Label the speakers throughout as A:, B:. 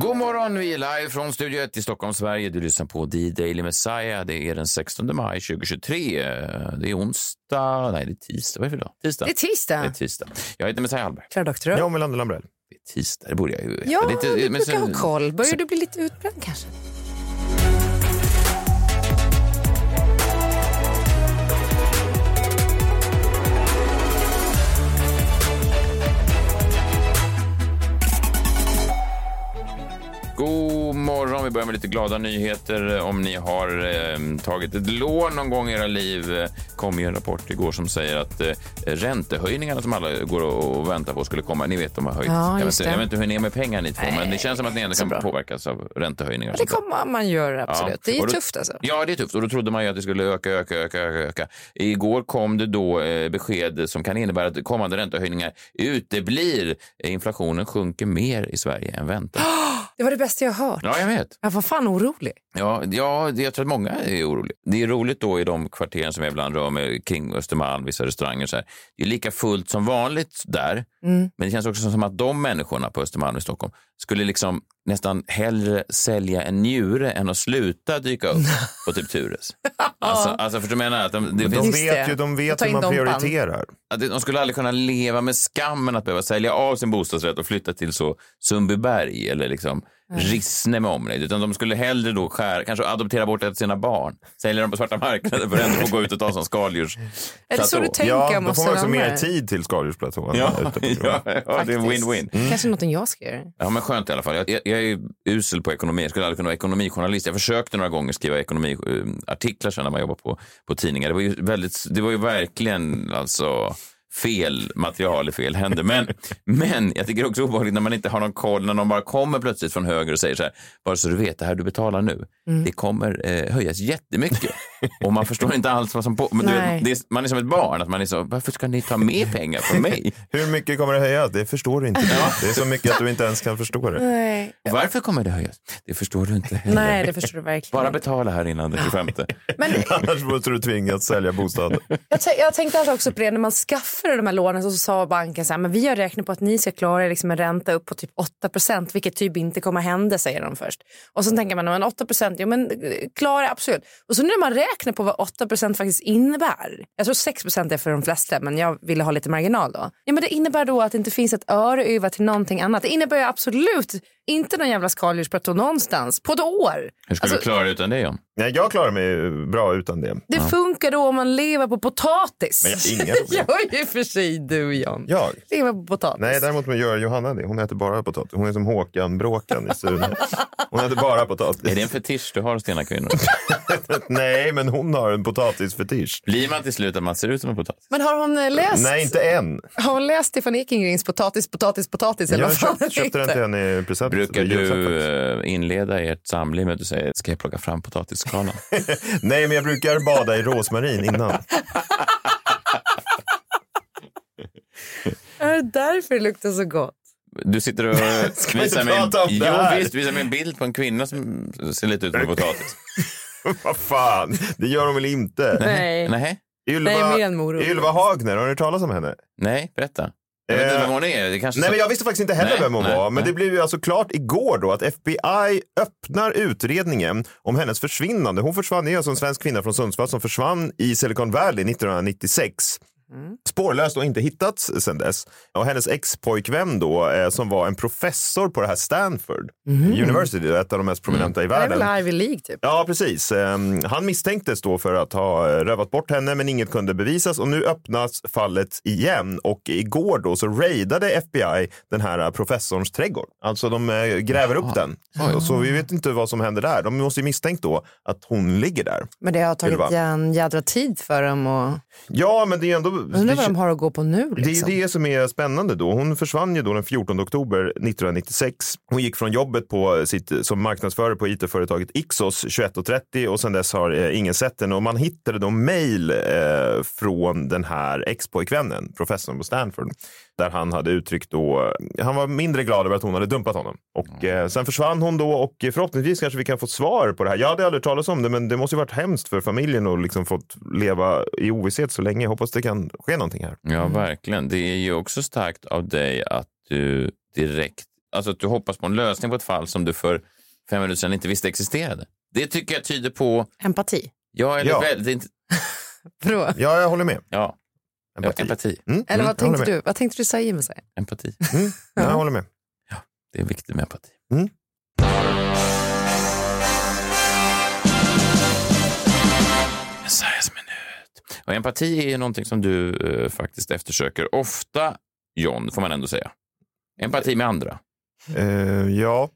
A: God morgon, vi är live från Studio 1 i Stockholm, Sverige. Du lyssnar på D-Daily Messiah. Det är den 16 maj 2023. Det är onsdag. Nej, det är tisdag. Vad är det för dag? Tisdag.
B: Det är tisdag.
A: Det är tisdag. Jag heter Messiah Hallberg.
B: Klara Doktorow.
C: Ja, Melander Lambrell.
A: Det är tisdag, det borde jag ju veta.
B: Ja,
A: Det är inte-
B: du
A: men
B: brukar
A: sen-
B: ha koll. Börjar du bli lite utbränd kanske?
A: God morgon. Vi börjar med lite glada nyheter. Om ni har eh, tagit ett lån någon gång i era liv eh, kom ju en rapport igår som säger att eh, räntehöjningarna som alla går och, och väntar på skulle komma. Ni vet, de har höjt.
B: Ja,
A: jag, vet,
B: just
A: inte-
B: det.
A: jag vet inte hur ni är med pengar ni två, men det känns som att ni ändå
B: så
A: kan
B: bra.
A: påverkas av räntehöjningar. och
B: Det
A: sånt där.
B: kommer man göra absolut.
A: Ja.
B: Det är ju
A: Och då-
B: tufft alltså.
A: Ja, det är tufft. Och då trodde man ju att det skulle öka, öka, öka, öka. öka. Igår kom det då eh, besked som kan innebära att kommande räntehöjningar uteblir. Eh, Inflationen sjunker mer i Sverige än väntat.
B: Det var det bästa jag hört.
A: Ja, jag vet.
B: Jag var fan orolig.
A: Ja, ja, det- jag tror att många är oroliga. Det är roligt då i de kvarteren som jag ibland rör mig kring Östermalm, vissa restauranger. Så här. Det är lika fullt som vanligt där. Men det känns också som att de människorna på Östermalm i Stockholm skulle liksom nästan hellre sälja en njure än att sluta dyka upp på typ Tures. Alltså, alltså för du menar jag? att de, det
C: De
A: finns,
B: Just
C: vet
B: det.
C: ju de
B: Jag
C: vet
B: tar
C: hur
B: in
C: man
B: Dompan.
C: prioriterar.
A: att de skulle aldrig kunna leva med skammen att behöva sälja av sin bostadsrätt och flytta till så Sundbyberg eller liksom
B: Mm.
A: Rissne med omnejd. Utan de skulle hellre då skär, kanske adoptera bort ett av sina barn. Sälja dem på svarta marknaden för att ändå få gå ut och ta som skaldjurs.
B: Är det så du tänker
C: Ja,
B: om
C: då får man också mer
B: Östermalmare?
C: tid till skaldjursplatån.
A: Ja,
C: ute på
A: ja,
C: krogen.
A: ja, det är en
B: Faktiskt.
A: win-win.
B: Kanske någonting jag ska göra.
A: Ja, men skönt i alla fall. Jag, jag, jag är ju usel på ekonomi. Jag skulle aldrig kunna vara ekonomijournalist. Jag försökte några gånger skriva ekonomiartiklar sen när man jobbade på, på tidningar. Det var ju, väldigt, det var ju verkligen alltså, fel material i fel händer. Men, men jag tycker det är också obehagligt när man inte har någon koll, när någon bara kommer plötsligt från höger och säger så här, bara så du vet, det här du betalar nu,
B: Mm.
A: det kommer eh, höjas jättemycket. och man förstår inte alls vad som på, men du
B: Nej.
A: vet, det är, Man är som ett barn, att man är så, varför ska ni ta mer pengar från mig?
C: Hur mycket kommer det höjas? Det förstår du inte. Det är så mycket att du inte ens kan förstå det.
B: Nej.
A: Varför kommer det höjas? Det förstår du inte heller.
B: Nej, det förstår du verkligen.
A: Bara betala här innan den 25.
B: Men
C: Annars måste du tvingas sälja bostaden.
B: jag, tän- jag tänkte alltid också på det när man skaffade de här lånen så sa banken så här, men vi har räknat på att ni ska klara er liksom en ränta upp på typ 8 procent, vilket typ inte kommer hända säger de först. Och så tänker man, men 8 procent, jo men eh, klara absolut. Och så när man räknar på vad 8 procent faktiskt innebär, jag tror 6 procent är för de flesta men jag ville ha lite marginal då. Ja men det innebär då att det inte finns ett öre över till någonting annat. Det innebär ju absolut inte någon jävla skaldjursplatå någonstans på ett år.
A: Hur ska
B: alltså-
A: du klara dig utan det, John?
C: Nej, jag klarar mig ju bra utan det.
B: Det funkar då om man lever på potatis.
C: Men jag- inga problem.
B: jag är i och för sig du John.
C: Jag?
B: Lever på potatis.
C: Nej, däremot gör Johanna det. Hon äter bara potatis. Hon är som Håkan Bråkan i Sune. Hon äter bara
A: Är det
C: potatis.
A: en fetisch du har, Stena kvinnor?
C: Nej, men hon har en potatisfetisch.
A: Blir man till slut att man ser ut som en potatis?
B: Men har hon eh, läst,
C: Nej, inte än.
B: har hon läst Stefan Ekengrens potatis, potatis, potatis? Eller
C: Jag
B: vad fan
C: köpte, köpte den till henne i present.
A: Brukar
C: i julklapp
A: du
C: faktiskt.
A: eh, inleda ert samliv med att du säger ska jag plocka fram potatiskalan?
C: Nej, men jag brukar bada i rosmarin innan.
B: Är det därför det luktar så gott?
A: Du sitter och
C: vi
A: visar mig,
C: prata om
A: en,
C: det här?
A: jo, visst, visar mig en bild på en kvinna som ser lite ut som en potatis.
C: Vad fan, det gör de väl inte?
B: Nej.
A: Nej,
C: Ylva,
B: Nej, mer än morot.
C: Ylva Hagner, har ni hört talas om henne?
A: nej, berätta. Jag vet
C: Eh,
A: inte vem hon är. Det kanske
C: Nej, men jag visste faktiskt inte heller
A: Nej,
C: vem hon
A: nej,
C: var. Men
A: nej.
C: det blev ju alltså klart igår då att FBI öppnar utredningen om hennes försvinnande. Hon försvann, det är alltså en svensk kvinna från Sundsvall som försvann i Silicon Valley 1996.
B: Mm.
C: Spårlöst och inte hittats sedan dess. Och hennes ex-pojkvän då, eh, som var en professor på det här Stanford University, ett av de mest prominenta i
B: Det Mm. är
C: världen.
B: väl Ivy League typ?
C: Ja, precis. Ehm, Han misstänktes då för att ha eh, rövat bort henne, men inget kunde bevisas och nu öppnas fallet igen. Och igår då så raidade FBI den här eh, professorns trädgård. Alltså de eh, gräver upp den. Och Så vi vet inte vad som händer där. De måste ju misstänkt då att hon ligger där.
B: Men det har tagit
C: Ylva.
B: en jädra tid för dem och...
C: Ja, men det är ändå
B: Undrar vad de har att gå på nu.
C: Det är
B: Liksom.
C: det som är spännande då. Hon försvann ju då den 14 oktober 1996. Hon gick från jobbet på sitt, som marknadsförare på it-företaget Ixos 21.30 och sedan dess har eh, ingen sett henne. Och man hittade då mejl eh, från den här ex-pojkvännen, professorn på Stanford, där han hade uttryckt då, han var mindre glad över att hon hade dumpat honom. Och eh, sen försvann hon då och förhoppningsvis kanske vi kan få svar på det här. Jag hade aldrig talat om det, men det måste ju varit hemskt för familjen och liksom fått leva i ovisshet så länge. Jag hoppas det kan ske någonting här.
A: Ja, verkligen. Det är ju också starkt av dig att du direkt... Alltså att du hoppas på en lösning på ett fall som du för fem minuter sedan inte visste existerade. Det tycker jag tyder på...
B: Empati.
A: Ja, eller
C: Ja.
A: väldigt... inte-
B: Vadå?
C: Ja, jag håller med.
A: Ja, empati.
C: Empati.
A: empati.
C: Mm,
B: Eller
C: mm,
B: vad
C: jag håller
B: tänkte
C: med.
B: du? Vad tänkte du säga Jimmy? säger?
A: Empati.
C: Mm, ja. Jag håller med.
A: Det är viktigt med empati.
C: Mm.
A: Messias minut. Och empati är ju någonting som du eh, faktiskt eftersöker ofta, John, får man ändå säga. Empati med andra,
C: Eh, ja,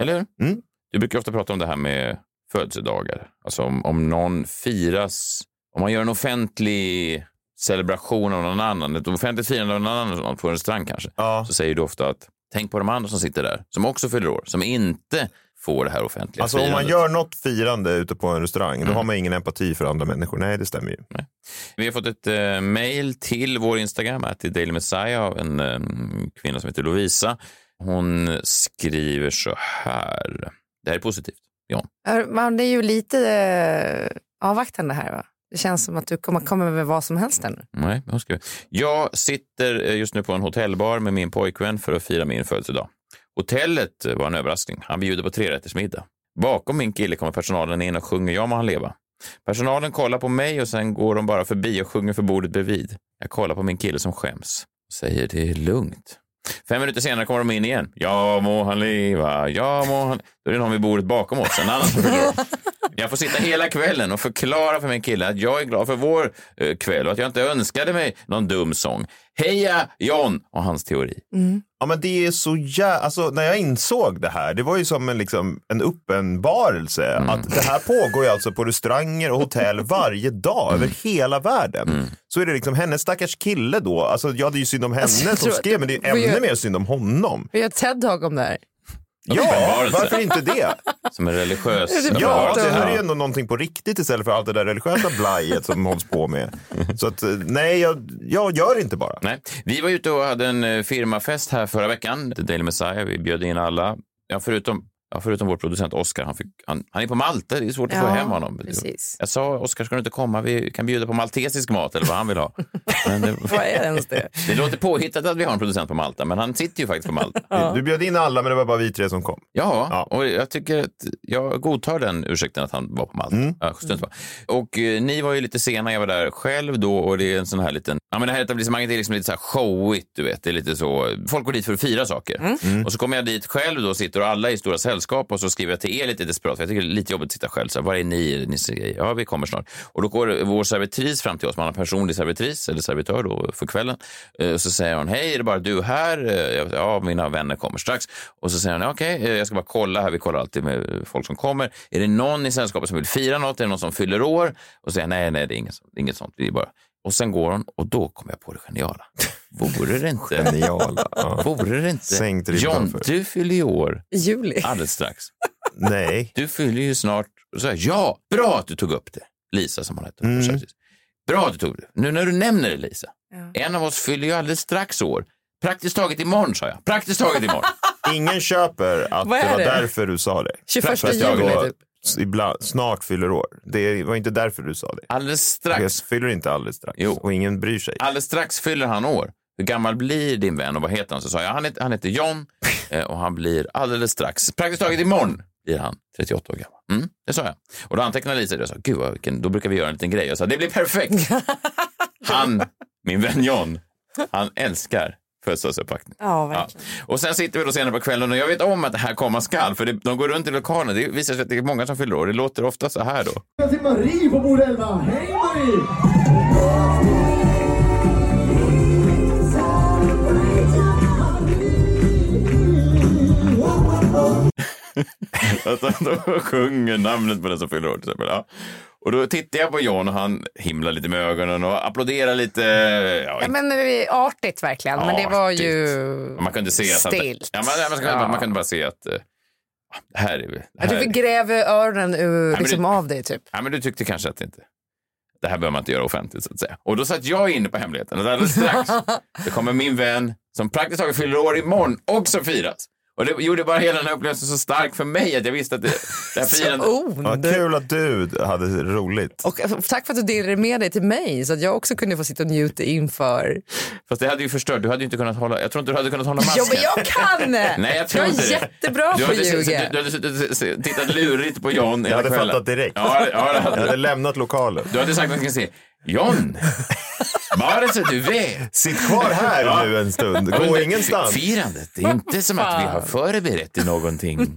A: eller hur?
C: Mm.
A: Du brukar ofta prata om det här med födelsedagar. Alltså om, om någon firas, om man gör en offentlig celebration av någon annan, ett offentligt firande av någon annan på en strand kanske,
C: ja.
A: så säger du ofta att tänk på de andra som sitter där, som också fyller år, som inte får det här offentliga
C: Alltså om man
A: firandet.
C: gör något firande ute på en restaurang, då har man ingen empati för andra människor. Nej, det stämmer ju.
A: Vi har fått ett eh, mejl till vår Instagram, här, till Daily Messiah, av en eh, kvinna som heter Lovisa. Hon skriver så här. Det här är positivt. Ja.
B: Ja, Man det är ju lite eh, avvaktande här va? Det känns som att du kommer komma med vad som helst här nu.
A: Nej, hon skriver. Jag sitter eh, just nu på en hotellbar med min pojkvän för att fira min födelsedag. Hotellet eh, var en överraskning. Han bjuder på trerättersmiddag. Bakom min kille kommer personalen in och sjunger Jag må han leva. Personalen kollar på mig och sen går de bara förbi och sjunger för bordet bredvid. Jag kollar på min kille som skäms och säger det är lugnt. Fem minuter senare kommer de in igen. Ja må han leva, ja må han... Då är det någon vid bordet bakom oss, en annan som fyller år. Jag får sitta hela kvällen och förklara för min kille att jag är glad för vår eh, kväll och att jag inte önskade mig någon dum sång. Heja John! Och hans teori.
C: Ja, men det är så jävla... Alltså, när jag insåg det här, det var ju som en, liksom, en uppenbarelse. Att det här pågår ju alltså på restauranger och hotell varje dag över hela världen. Så är det liksom hennes stackars kille då. Alltså, jag hade ju synd om henne
B: Alltså, jag
C: som
B: tror att
C: skrev, men det är
B: det var
C: ju
B: ju-
C: ännu mer synd om honom.
B: Vi gör ett TED-dag om det här.
C: Ja,
A: uppenbarelse.
C: varför inte det?
A: Som en religiös...
B: Det
C: Ja,
B: pratar
C: det
B: om.
C: här är ju ändå någonting på riktigt istället för allt det där religiösa blajet som hålls på med. Så att, eh, nej, jag, jag gör inte bara.
A: Nej. Vi var ute och hade en eh, firmafest här förra veckan, The Daily Messiah. Vi bjöd in alla, ja, förutom, ja, förutom vår producent Oscar. Han, fick, han, han är på Malta, det är svårt att få
B: Ja,
A: hem honom.
B: precis.
A: Jag sa, Oscar, ska du inte komma? Vi kan bjuda på maltesisk mat eller vad han vill ha. Men det,
B: Vad är ens det?
A: det låter påhittat att vi har en producent på Malta, men han sitter ju faktiskt på Malta.
C: Du bjöd in alla, men det var bara vi tre som kom.
A: Ja,
C: Ja.
A: och jag tycker att jag godtar den ursäkten att han var på Malta. Ja, stund var. Och eh, ni var ju lite sena, jag var där själv då och det är en sån här liten... Ja, men det här etablissemanget är liksom lite så här showigt, du vet. Det är lite så... Folk går dit för att fira saker. Och så kommer jag dit själv då, sitter och alla är i stora sällskap och så skriver jag till er lite desperat, för jag tycker det är lite jobbigt att sitta själv. Så här, var är ni? ni ser, ja, vi kommer snart. Och då går vår servitris fram till oss, man har en personlig servitris, eller servitör då, för kvällen. Eh, Och så säger hon, hej, är det bara du här? Eh, jag- Ja, mina vänner kommer strax. Och så säger hon, okej, eh, jag ska bara kolla här, vi kollar alltid med folk som kommer. Är det någon i sällskapet som vill fira något? Är det någon som fyller år? Och säger jag, nej, nej, det är inget, sånt. inget sånt. Det är bara... Och sen går hon och då kommer jag på det geniala. Vore det inte...
C: Geniala. Ja.
A: Vore det inte...
C: Sänkt ribban
A: John,
C: för-
A: du fyller ju år
B: I juli?
A: alldeles strax.
C: Nej.
A: Du fyller ju snart... Så här, ja, bra att du tog upp det. Lisa som hon hette.
C: Mm.
A: Precis. Bra att du tog det. Nu när du nämner det, Lisa.
B: Ja.
A: En av oss fyller ju alldeles strax år. Praktiskt taget imorgon, sa jag. Praktiskt taget imorgon.
C: Ingen köper att det
B: Vad är
C: var
B: det?
C: därför du sa det.
B: 21
C: Fast jag
B: juli
C: då
B: typ.
C: s- Ibland, snart fyller år. Det var inte därför du sa det.
A: Alldeles
C: Jag
A: strax,
C: fyller inte alldeles strax
A: Jo.
C: och ingen bryr sig.
A: alldeles strax fyller han år. Hur gammal blir din vän och vad heter han? Så sa jag, han heter, han heter John eh, och han blir alldeles strax, praktiskt taget imorgon, blir han 38 år gammal. Mm, det sa jag. Och då antecknade Lisa det och sa, gud vad vilken, då brukar vi göra en liten grej. Jag sa, det blir perfekt. Han, min vän John, han älskar födelsedagsuppvaktning.
B: Ja,
A: Ja.
B: verkligen.
A: Och sen sitter vi då senare på kvällen och jag vet om att det här komma skall för det, de går runt i lokalen. Det visar sig att det är många som fyller år. Det låter ofta så här då.
D: Jag till Marie på bord 11. Hej Marie!
A: Alltså, Att de sjunger namnet på den som fyller år till exempel. Ja. Och då tittar jag på John och han himlar lite med ögonen och applåderar lite. Ja,
B: Ja, men det är artigt verkligen. Men det var ju
A: Ja, Man kunde se att...
B: stilt.
A: Ja, man, man, kunde,
B: Ja.
A: man kunde bara se att... eh, Det här är... Det
B: Ja,
A: här
B: Du fick gräva öronen ur,
A: men
B: liksom,
A: det-
B: av dig typ.
A: Ja, men du tyckte kanske att det inte... Det här behöver man inte göra offentligt så att säga. Och då satt jag inne på hemligheten. Och alldeles strax så kommer min vän som praktiskt taget fyller år imorgon också firas. Och det gjorde bara hela den här upplevelsen så stark för mig att jag visste att det, det här firandet...
B: Ond.
C: Vad kul att du hade roligt.
B: Och eh, tack för att du delade med dig till mig så att jag också kunde få sitta och njuta inför.
A: Fast det hade ju förstört. Du hade ju inte kunnat hålla... Jag tror inte du hade kunnat hålla masken.
B: Ja, men jag kan!
A: Nej, jag tror
B: jag är
A: inte det.
B: jättebra
A: Du
B: på
A: hade,
B: att ljuga.
A: du, hade- du hade tittat lurigt på John hela
C: hade
A: kvällen.
C: fattat direkt.
A: Ja, ja, det hade
C: Jag hade lämnat lokalen.
A: Du hade sagt att jag ska se. John, bara så du vet.
C: Sitt kvar här nu en stund.
A: Ja, men
C: Gå
A: det-
C: ingenstans.
A: Firandet, det är inte som att vi har förberett dig någonting.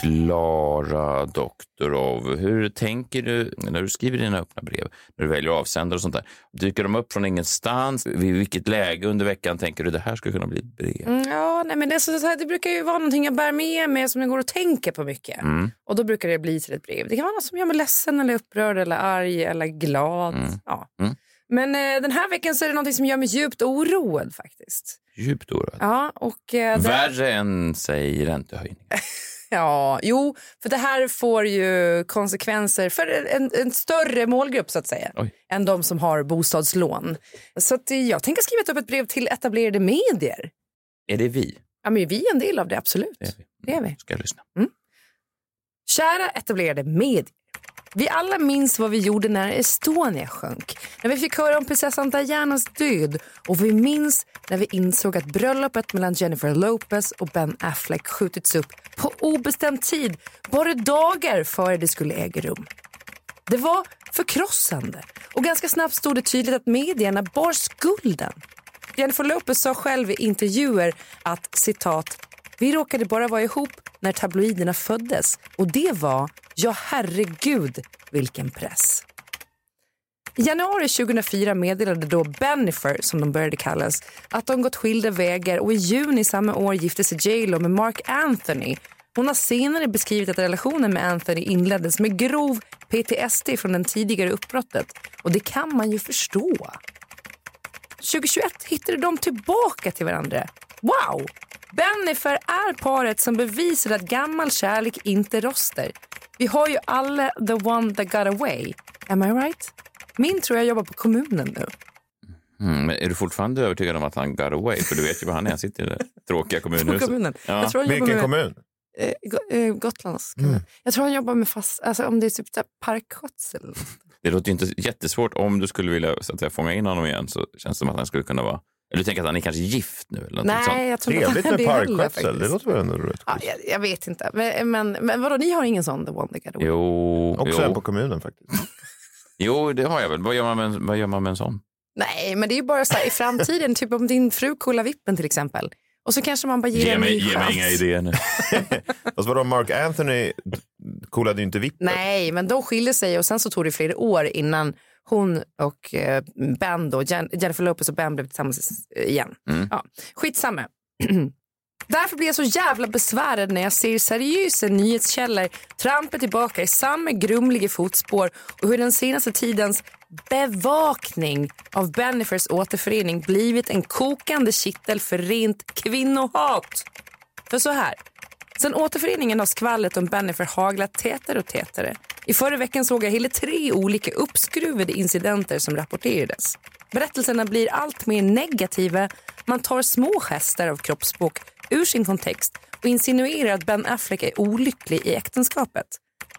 A: Klara Doktorov, hur tänker du när du skriver dina öppna brev? När du väljer avsändare och sånt där. Dyker de upp från ingenstans? Vid vilket läge under veckan tänker du det här skulle kunna bli ett brev?
B: Mm, Ja, nej, men det, är så, så här, det brukar ju vara någonting jag bär med mig som jag går och tänker på mycket.
C: Mm.
B: Och då brukar det bli till ett brev. Det kan vara något som gör mig ledsen eller upprörd eller arg eller glad.
C: Mm.
B: Ja. Men eh, den här veckan så är det någonting som gör mig djupt oroad faktiskt.
A: Djupt oroad.
B: Ja, och, eh, det,
A: Värre än, säg, räntehöjning.
B: ja, jo, för det här får ju konsekvenser för en, en större målgrupp så att säga.
A: Oj.
B: Än de som har bostadslån. Så att, eh, jag tänker skriva upp ett brev till etablerade medier.
A: Är det vi?
B: Ja, men vi är en del av det, absolut. Det är vi. Det är vi.
A: Ska jag lyssna?
B: Mm. Kära etablerade medier. Vi alla minns vad vi gjorde när Estonia sjönk, när vi fick höra om prinsessan Dianas död och vi minns när vi insåg att bröllopet mellan Jennifer Lopez och Ben Affleck skjutits upp på obestämd tid, bara dagar före det skulle äga rum. Det var förkrossande och ganska snabbt stod det tydligt att medierna bar skulden. Jennifer Lopez sa själv i intervjuer att citat vi råkade bara vara ihop när tabloiderna föddes och det var, ja herregud vilken press. I januari 2004 meddelade då Bennifer, som de började kallas, att de gått skilda vägar och i juni samma år gifte sig J Lo med Mark Anthony. Hon har senare beskrivit att relationen med Anthony inleddes med grov PTSD från den tidigare uppbrottet och det kan man ju förstå. 2021 hittade de tillbaka till varandra. Wow! Bennifer är paret som bevisar att gammal kärlek inte roster. Vi har ju alla the one that got away. Am I right? Min tror jag jobbar på kommunen nu.
A: Mm, men är du fortfarande övertygad om att han got away? För du vet ju var han är. Han sitter i det där tråkiga kommunhuset.
B: På kommunen.
A: Ja.
B: Jag tror han jobbar med- Eh, Go- eh, Gotlands kommun. Jag tror han jobbar med fast, alltså om det är typ så här parkskötsel. eller något.
A: Det låter ju inte jättesvårt. Om du skulle vilja så att säga, fånga in honom igen så känns det som att han skulle kunna vara... Eller du tänker att han är kanske gift nu? Eller någonting
B: Nej,
A: sånt.
B: jag tror inte Trevligt med det heller, parkskötsel. faktiskt. Det
C: låter väl ändå roligt?
B: Ja, jag, jag vet inte. Men, men, men vadå, ni har ingen sån The One That Got Away?
A: Jo.
C: Också
A: jo.
C: en på kommunen faktiskt.
A: Jo, det har jag väl. Vad gör man med, en- vad gör man med en sån?
B: Nej, men det är ju bara så här, i framtiden, typ om din fru kollar vippen till exempel. Och så kanske man bara ger en ny chans.
A: idéer nu.
C: Fast vadå, Mark Anthony coolade ju inte vippen.
B: Nej, men de skiljer sig och sen så tog det flera år innan hon och eh, Ben då, Jen- Jennifer Lopez och Ben blev tillsammans eh, igen.
E: Mm.
B: Ja, skitsamma. Därför blir jag så jävla besvärad när jag ser seriösa nyhetskällor trampa tillbaka i samma grumliga fotspår och hur den senaste tidens bevakning av Bennifers återförening blivit en kokande kittel för rent kvinnohat. För så här, sen återföreningen har skvallret om Bennifer haglat tätare och tätare. I förra veckan såg jag hela tre olika uppskruvade incidenter som rapporterades. Berättelserna blir allt mer negativa. Man tar små gester av kroppsspråk ur sin kontext och insinuerar att Ben Affleck är olycklig i äktenskapet.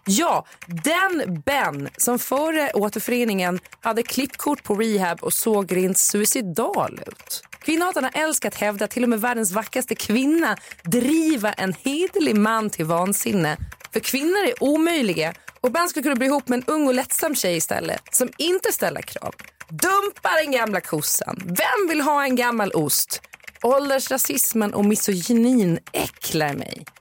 B: Ja, den Ben som före återföreningen hade klippkort på rehab och såg rent suicidal ut. Kvinnohatarna älskar att hävda att till och med världens vackraste kvinna driva en hederlig man till vansinne. För kvinnor är omöjliga och Ben skulle kunna bli ihop med en ung och lättsam tjej istället som inte ställer krav. Dumpa den gamla kossan. Vem vill ha en gammal ost? Åldersrasismen och misogynin äcklar mig.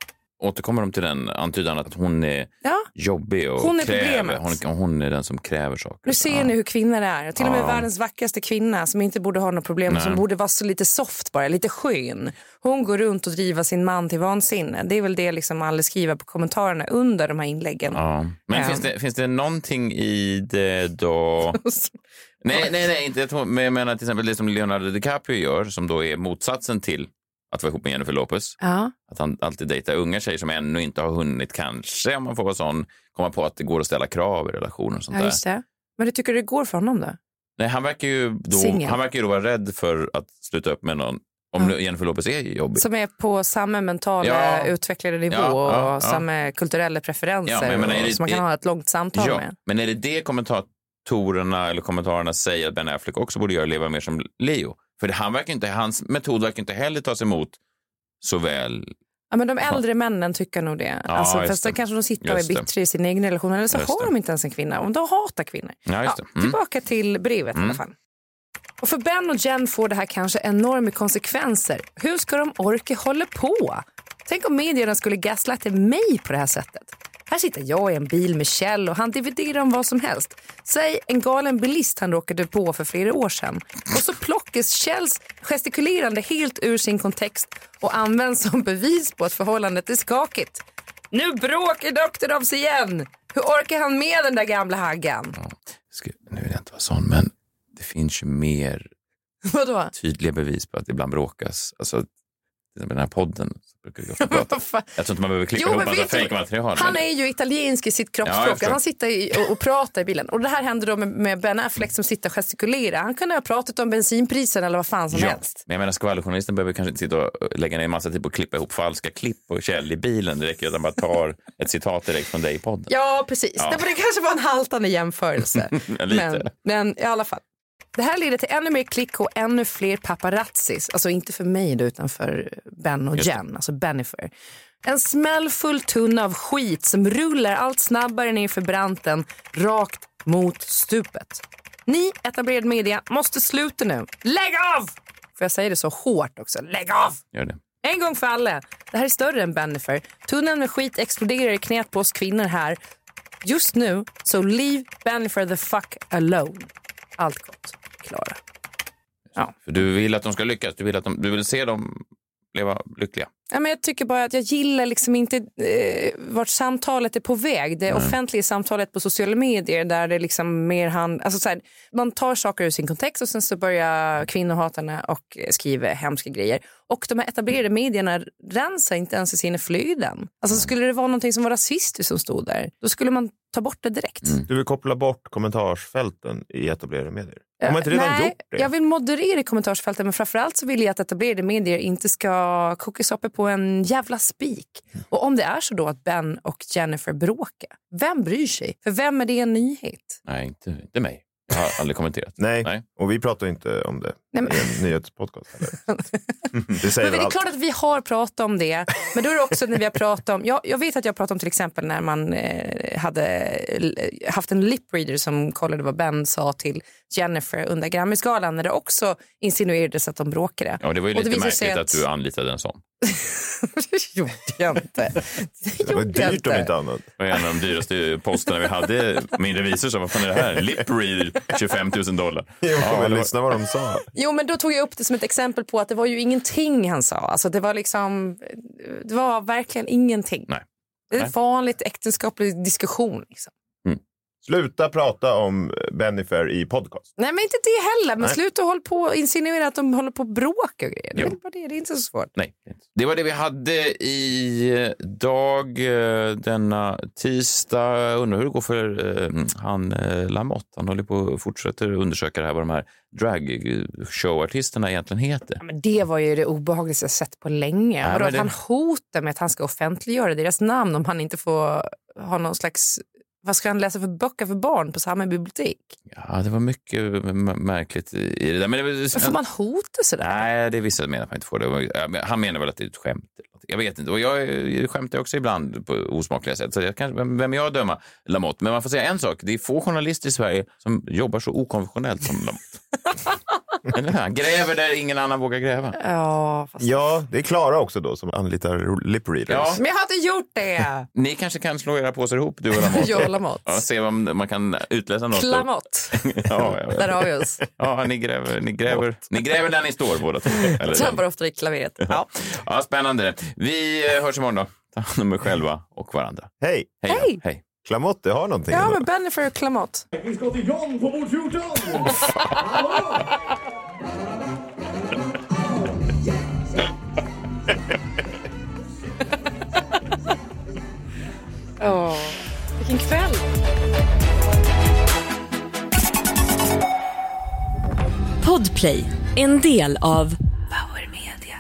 A: Återkommer de till den antydan att hon är
B: Ja.
A: jobbig och
B: Hon är
A: kräver.
B: problemet.
A: Hon, hon är den som kräver saker.
B: Nu ser ni hur kvinnor är. Till och med
A: Ja.
B: världens vackraste kvinna som inte borde ha något problem,
A: Nej.
B: som borde vara så lite soft bara, lite skön. Hon går runt och driver sin man till vansinne. Det är väl det liksom alla skriver på kommentarerna under de här inläggen.
A: Ja. Men
B: Ja.
A: finns, det, finns det någonting i det då? nej, nej, nej, inte. jag tror- Men jag menar till exempel det som Leonardo DiCaprio gör, som då är motsatsen till att vara ihop med Jennifer Lopez.
B: Ja.
A: Att han alltid dejtar unga tjejer som ännu inte har hunnit, kanske om man får vara sån, komma på att det går att ställa krav i relationer och sånt
B: ja,
A: där.
B: just det. Men du tycker det går för honom då?
A: Nej, han verkar ju då,
B: Singel.
A: han verkar ju då vara rädd för att sluta upp med någon, om nu Jennifer Lopez är jobbig.
B: Som är på samma mentala
A: Ja.
B: utvecklade nivå
A: Ja, ja,
B: och
A: ja.
B: samma kulturella
A: Ja,
B: preferenser
A: men jag menar, är
B: och
A: det-
B: som man kan
A: är-
B: ha ett långt samtal
A: Ja,
B: med.
A: men är det det kommentatorerna eller kommentarerna säger att Ben Affleck också borde göra, leva mer som Leo? För han verkar inte, hans metod verkar inte heller tas emot så väl.
B: Ja, men de äldre männen tycker nog det.
A: Ja,
B: alltså,
A: just
B: fast då
A: det.
B: kanske de sitter och är
A: Just det.
B: bittra i sin egen relation eller så
A: Just
B: har
A: det.
B: de inte ens en kvinna. Och de hatar kvinnor.
A: Ja, just det. Mm.
B: Tillbaka till brevet i
A: Mm.
B: alla fall. Och för Ben och Jen får det här kanske enorma konsekvenser. Hur ska de orka hålla på? Tänk om medierna skulle gaslighta mig på det här sättet. Här sitter jag i en bil med Kjell och han dividerar om vad som helst. Säg en galen bilist han råkade på för flera år sedan. Och så plockas Kjells gestikulerande helt ur sin kontext och används som bevis på att förhållandet är skakigt. Nu bråkar doktorn av sig igen! Hur orkar han med den där gamla haggan?
A: Ska, nu vill jag inte vara sån, men det finns ju mer
B: Vadå?
A: tydliga bevis på att det ibland bråkas. Alltså, med den här podden. Så brukar vi ofta prata. Jag tror inte man behöver klicka
B: Jo,
A: ihop
B: men
A: massa
B: vet du-
A: fejkmaterial.
B: Han
A: men-
B: är ju italiensk i sitt
A: Ja, jag
B: kroppsspråk.
A: förstår.
B: han sitter i, och, och pratar i bilen. Och det här hände då med, med Ben Affleck som sitter och gestikulerar. Han kunde ha pratat om bensinprisen eller vad fan som
A: Ja,
B: helst.
A: men jag menar skvallerjournalisten behöver kanske inte sitta och eh, lägga ner massa tid på att klippa ihop falska klipp och käll i bilen. Det räcker att han bara tar ett citat direkt från dig i podden.
B: Ja, precis.
A: Ja.
B: Det, men det kanske var en haltande jämförelse.
A: Ja, lite.
B: men, men i alla fall. Det här leder till ännu mer klick och ännu fler paparazzis. Alltså inte för mig då, utan för Ben och
E: Just det.
B: Jen, alltså Bennifer. En smällfull tunna av skit som rullar allt snabbare ner för branten rakt mot stupet. Ni, etablerad media, måste sluta nu. Lägg av! För jag säger det så hårt också. Lägg av!
A: Gör det.
B: En gång för alla. Det här är större än Bennifer. Tunneln med skit exploderar i knät på oss kvinnor här. Just nu, så leave Bennifer the fuck alone. Allt gott, Klara.
A: För du vill att de ska lyckas. Du vill, att de, du vill se dem leva lyckliga.
B: Ja, men jag tycker bara att jag gillar liksom inte eh, vart samtalet är på väg. Det
A: Nej.
B: offentliga samtalet på sociala medier där det liksom mer han, alltså så här, man tar saker ur sin kontext och sen så börjar kvinnohatarna och eh, skriver hemska grejer. Och de här etablerade medierna rensar inte ens i sina flöden. Alltså skulle det vara någonting som var rasistiskt som stod där, då skulle man ta bort det direkt.
C: Du vill koppla bort kommentarsfälten i etablerade medier. Har man inte
B: Eh,
C: redan
B: Nej,
C: gjort det?
B: Jag vill moderera i kommentarsfältet men framförallt så vill jag att etablerade medier inte ska kokisoppa på en jävla spik. Och om det är så då att Ben och Jennifer bråkar, vem bryr sig? För vem är det en nyhet?
A: Nej, inte, inte mig. Jag har aldrig kommenterat.
C: Nej. och vi pratar ju inte om det
B: Nej, men-
C: i en nyhetspodcast. heller. det säger
B: Men det
C: väl
B: är
C: allt.
B: klart att vi har pratat om det, men då är det också när vi har pratat om, jag, jag vet att jag pratade om till exempel när man eh, hade eh, haft en lip reader som kollade vad Ben sa till Jennifer under Grammyskalan när det också insinuerades att de bråkade.
A: Ja, det var ju
B: Och
A: lite
B: visade sig
A: märkligt att... du anlitade en sån.
B: Det var gjorde jag dyrt om inte. inte
C: annat.
A: Det var en av de dyraste posterna vi hade. Min revisor sa, vad fan är det här? Lip reader, 25 000 dollar.
C: men
A: det var-
C: lyssna vad de sa.
B: Jo, men då tog jag upp det som ett exempel på att det var ju ingenting han sa. Alltså, det var liksom, det var verkligen ingenting.
A: Nej.
B: Det är
C: Nej.
B: en vanligt äktenskaplig diskussion. Liksom.
C: Sluta prata om Bennifer i podcast.
B: Nej, men inte det heller. Men
C: Nej.
B: sluta hålla på och insinuera att de håller på och bråkar och grejer. Det är
A: Jo.
B: väl bara det. Det är inte så svårt.
A: Nej. Det var det vi hade i dag eh, denna tisdag. Jag Undrar hur det går för eh, han eh, Lamotte. Han håller på och fortsätter undersöka det här, vad de här dragshowartisterna egentligen heter.
B: Men det var ju det obehagligaste jag sett på länge.
A: Ja,
B: Vadå,
A: men
B: att
A: det-
B: han hotar med att han ska offentliggöra deras namn om han inte får ha någon slags... Vad ska han läsa för böcker för barn på samma bibliotek?
A: Ja, det var mycket m- märkligt i i det där. Men det, var-
B: Men får man hota sådär?
A: Nej, det är vissa som menar att man inte får det. Ja, men Han menar väl att det är ett skämt. eller något. Jag vet inte. Och jag eh, skämtar också ibland på osmakliga sätt. Så jag kanske, vem- vem är jag att döma Lamotte? Men man får säga en sak. Det är få journalister i Sverige som jobbar så okonventionellt som Lamotte. Eller hur? Han gräver där ingen annan vågar gräva.
B: Ja, fast...
C: Ja, det är Klara också då som anlitar lip readers.
A: Ja.
B: Men jag har inte gjort det!
A: Ni kanske kan slå era påsar ihop, du och Lamotte.
B: Jag och Lamotte.
A: Ja, se om man kan utläsa något.
B: Klamott.
A: ja, ja, ja.
B: Där har vi oss.
A: Ja, ni gräver, ni gräver, ni gräver där ni står båda två. Eller-
B: Trampar ofta i klaveret. Ja.
A: Ja, spännande. Vi eh, hörs imorgon då. Ta hand om er själva och varandra.
C: Hej!
A: Hej! då.
B: Hej.
A: Hej.
C: Klamotte har någonting.
B: Ja, men Bennifer och Klamott.
D: Vi ska till John på bord 14! Hallå!
B: Åh, vilken kväll.
F: Podplay, en del av Power Media.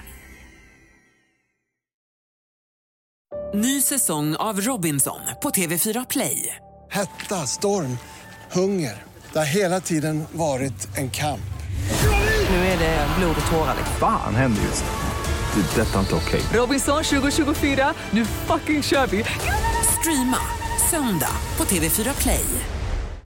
G: Ny säsong av Robinson på TV4 Play.
H: Hetta, storm, hunger. Det har hela tiden varit en kamp.
G: Nu är det blod och tårar. liksom.
I: Fan händer just det. Det är detta inte okej.
G: Robinson 2024, nu fucking kör vi! Streama söndag på TV4 Play.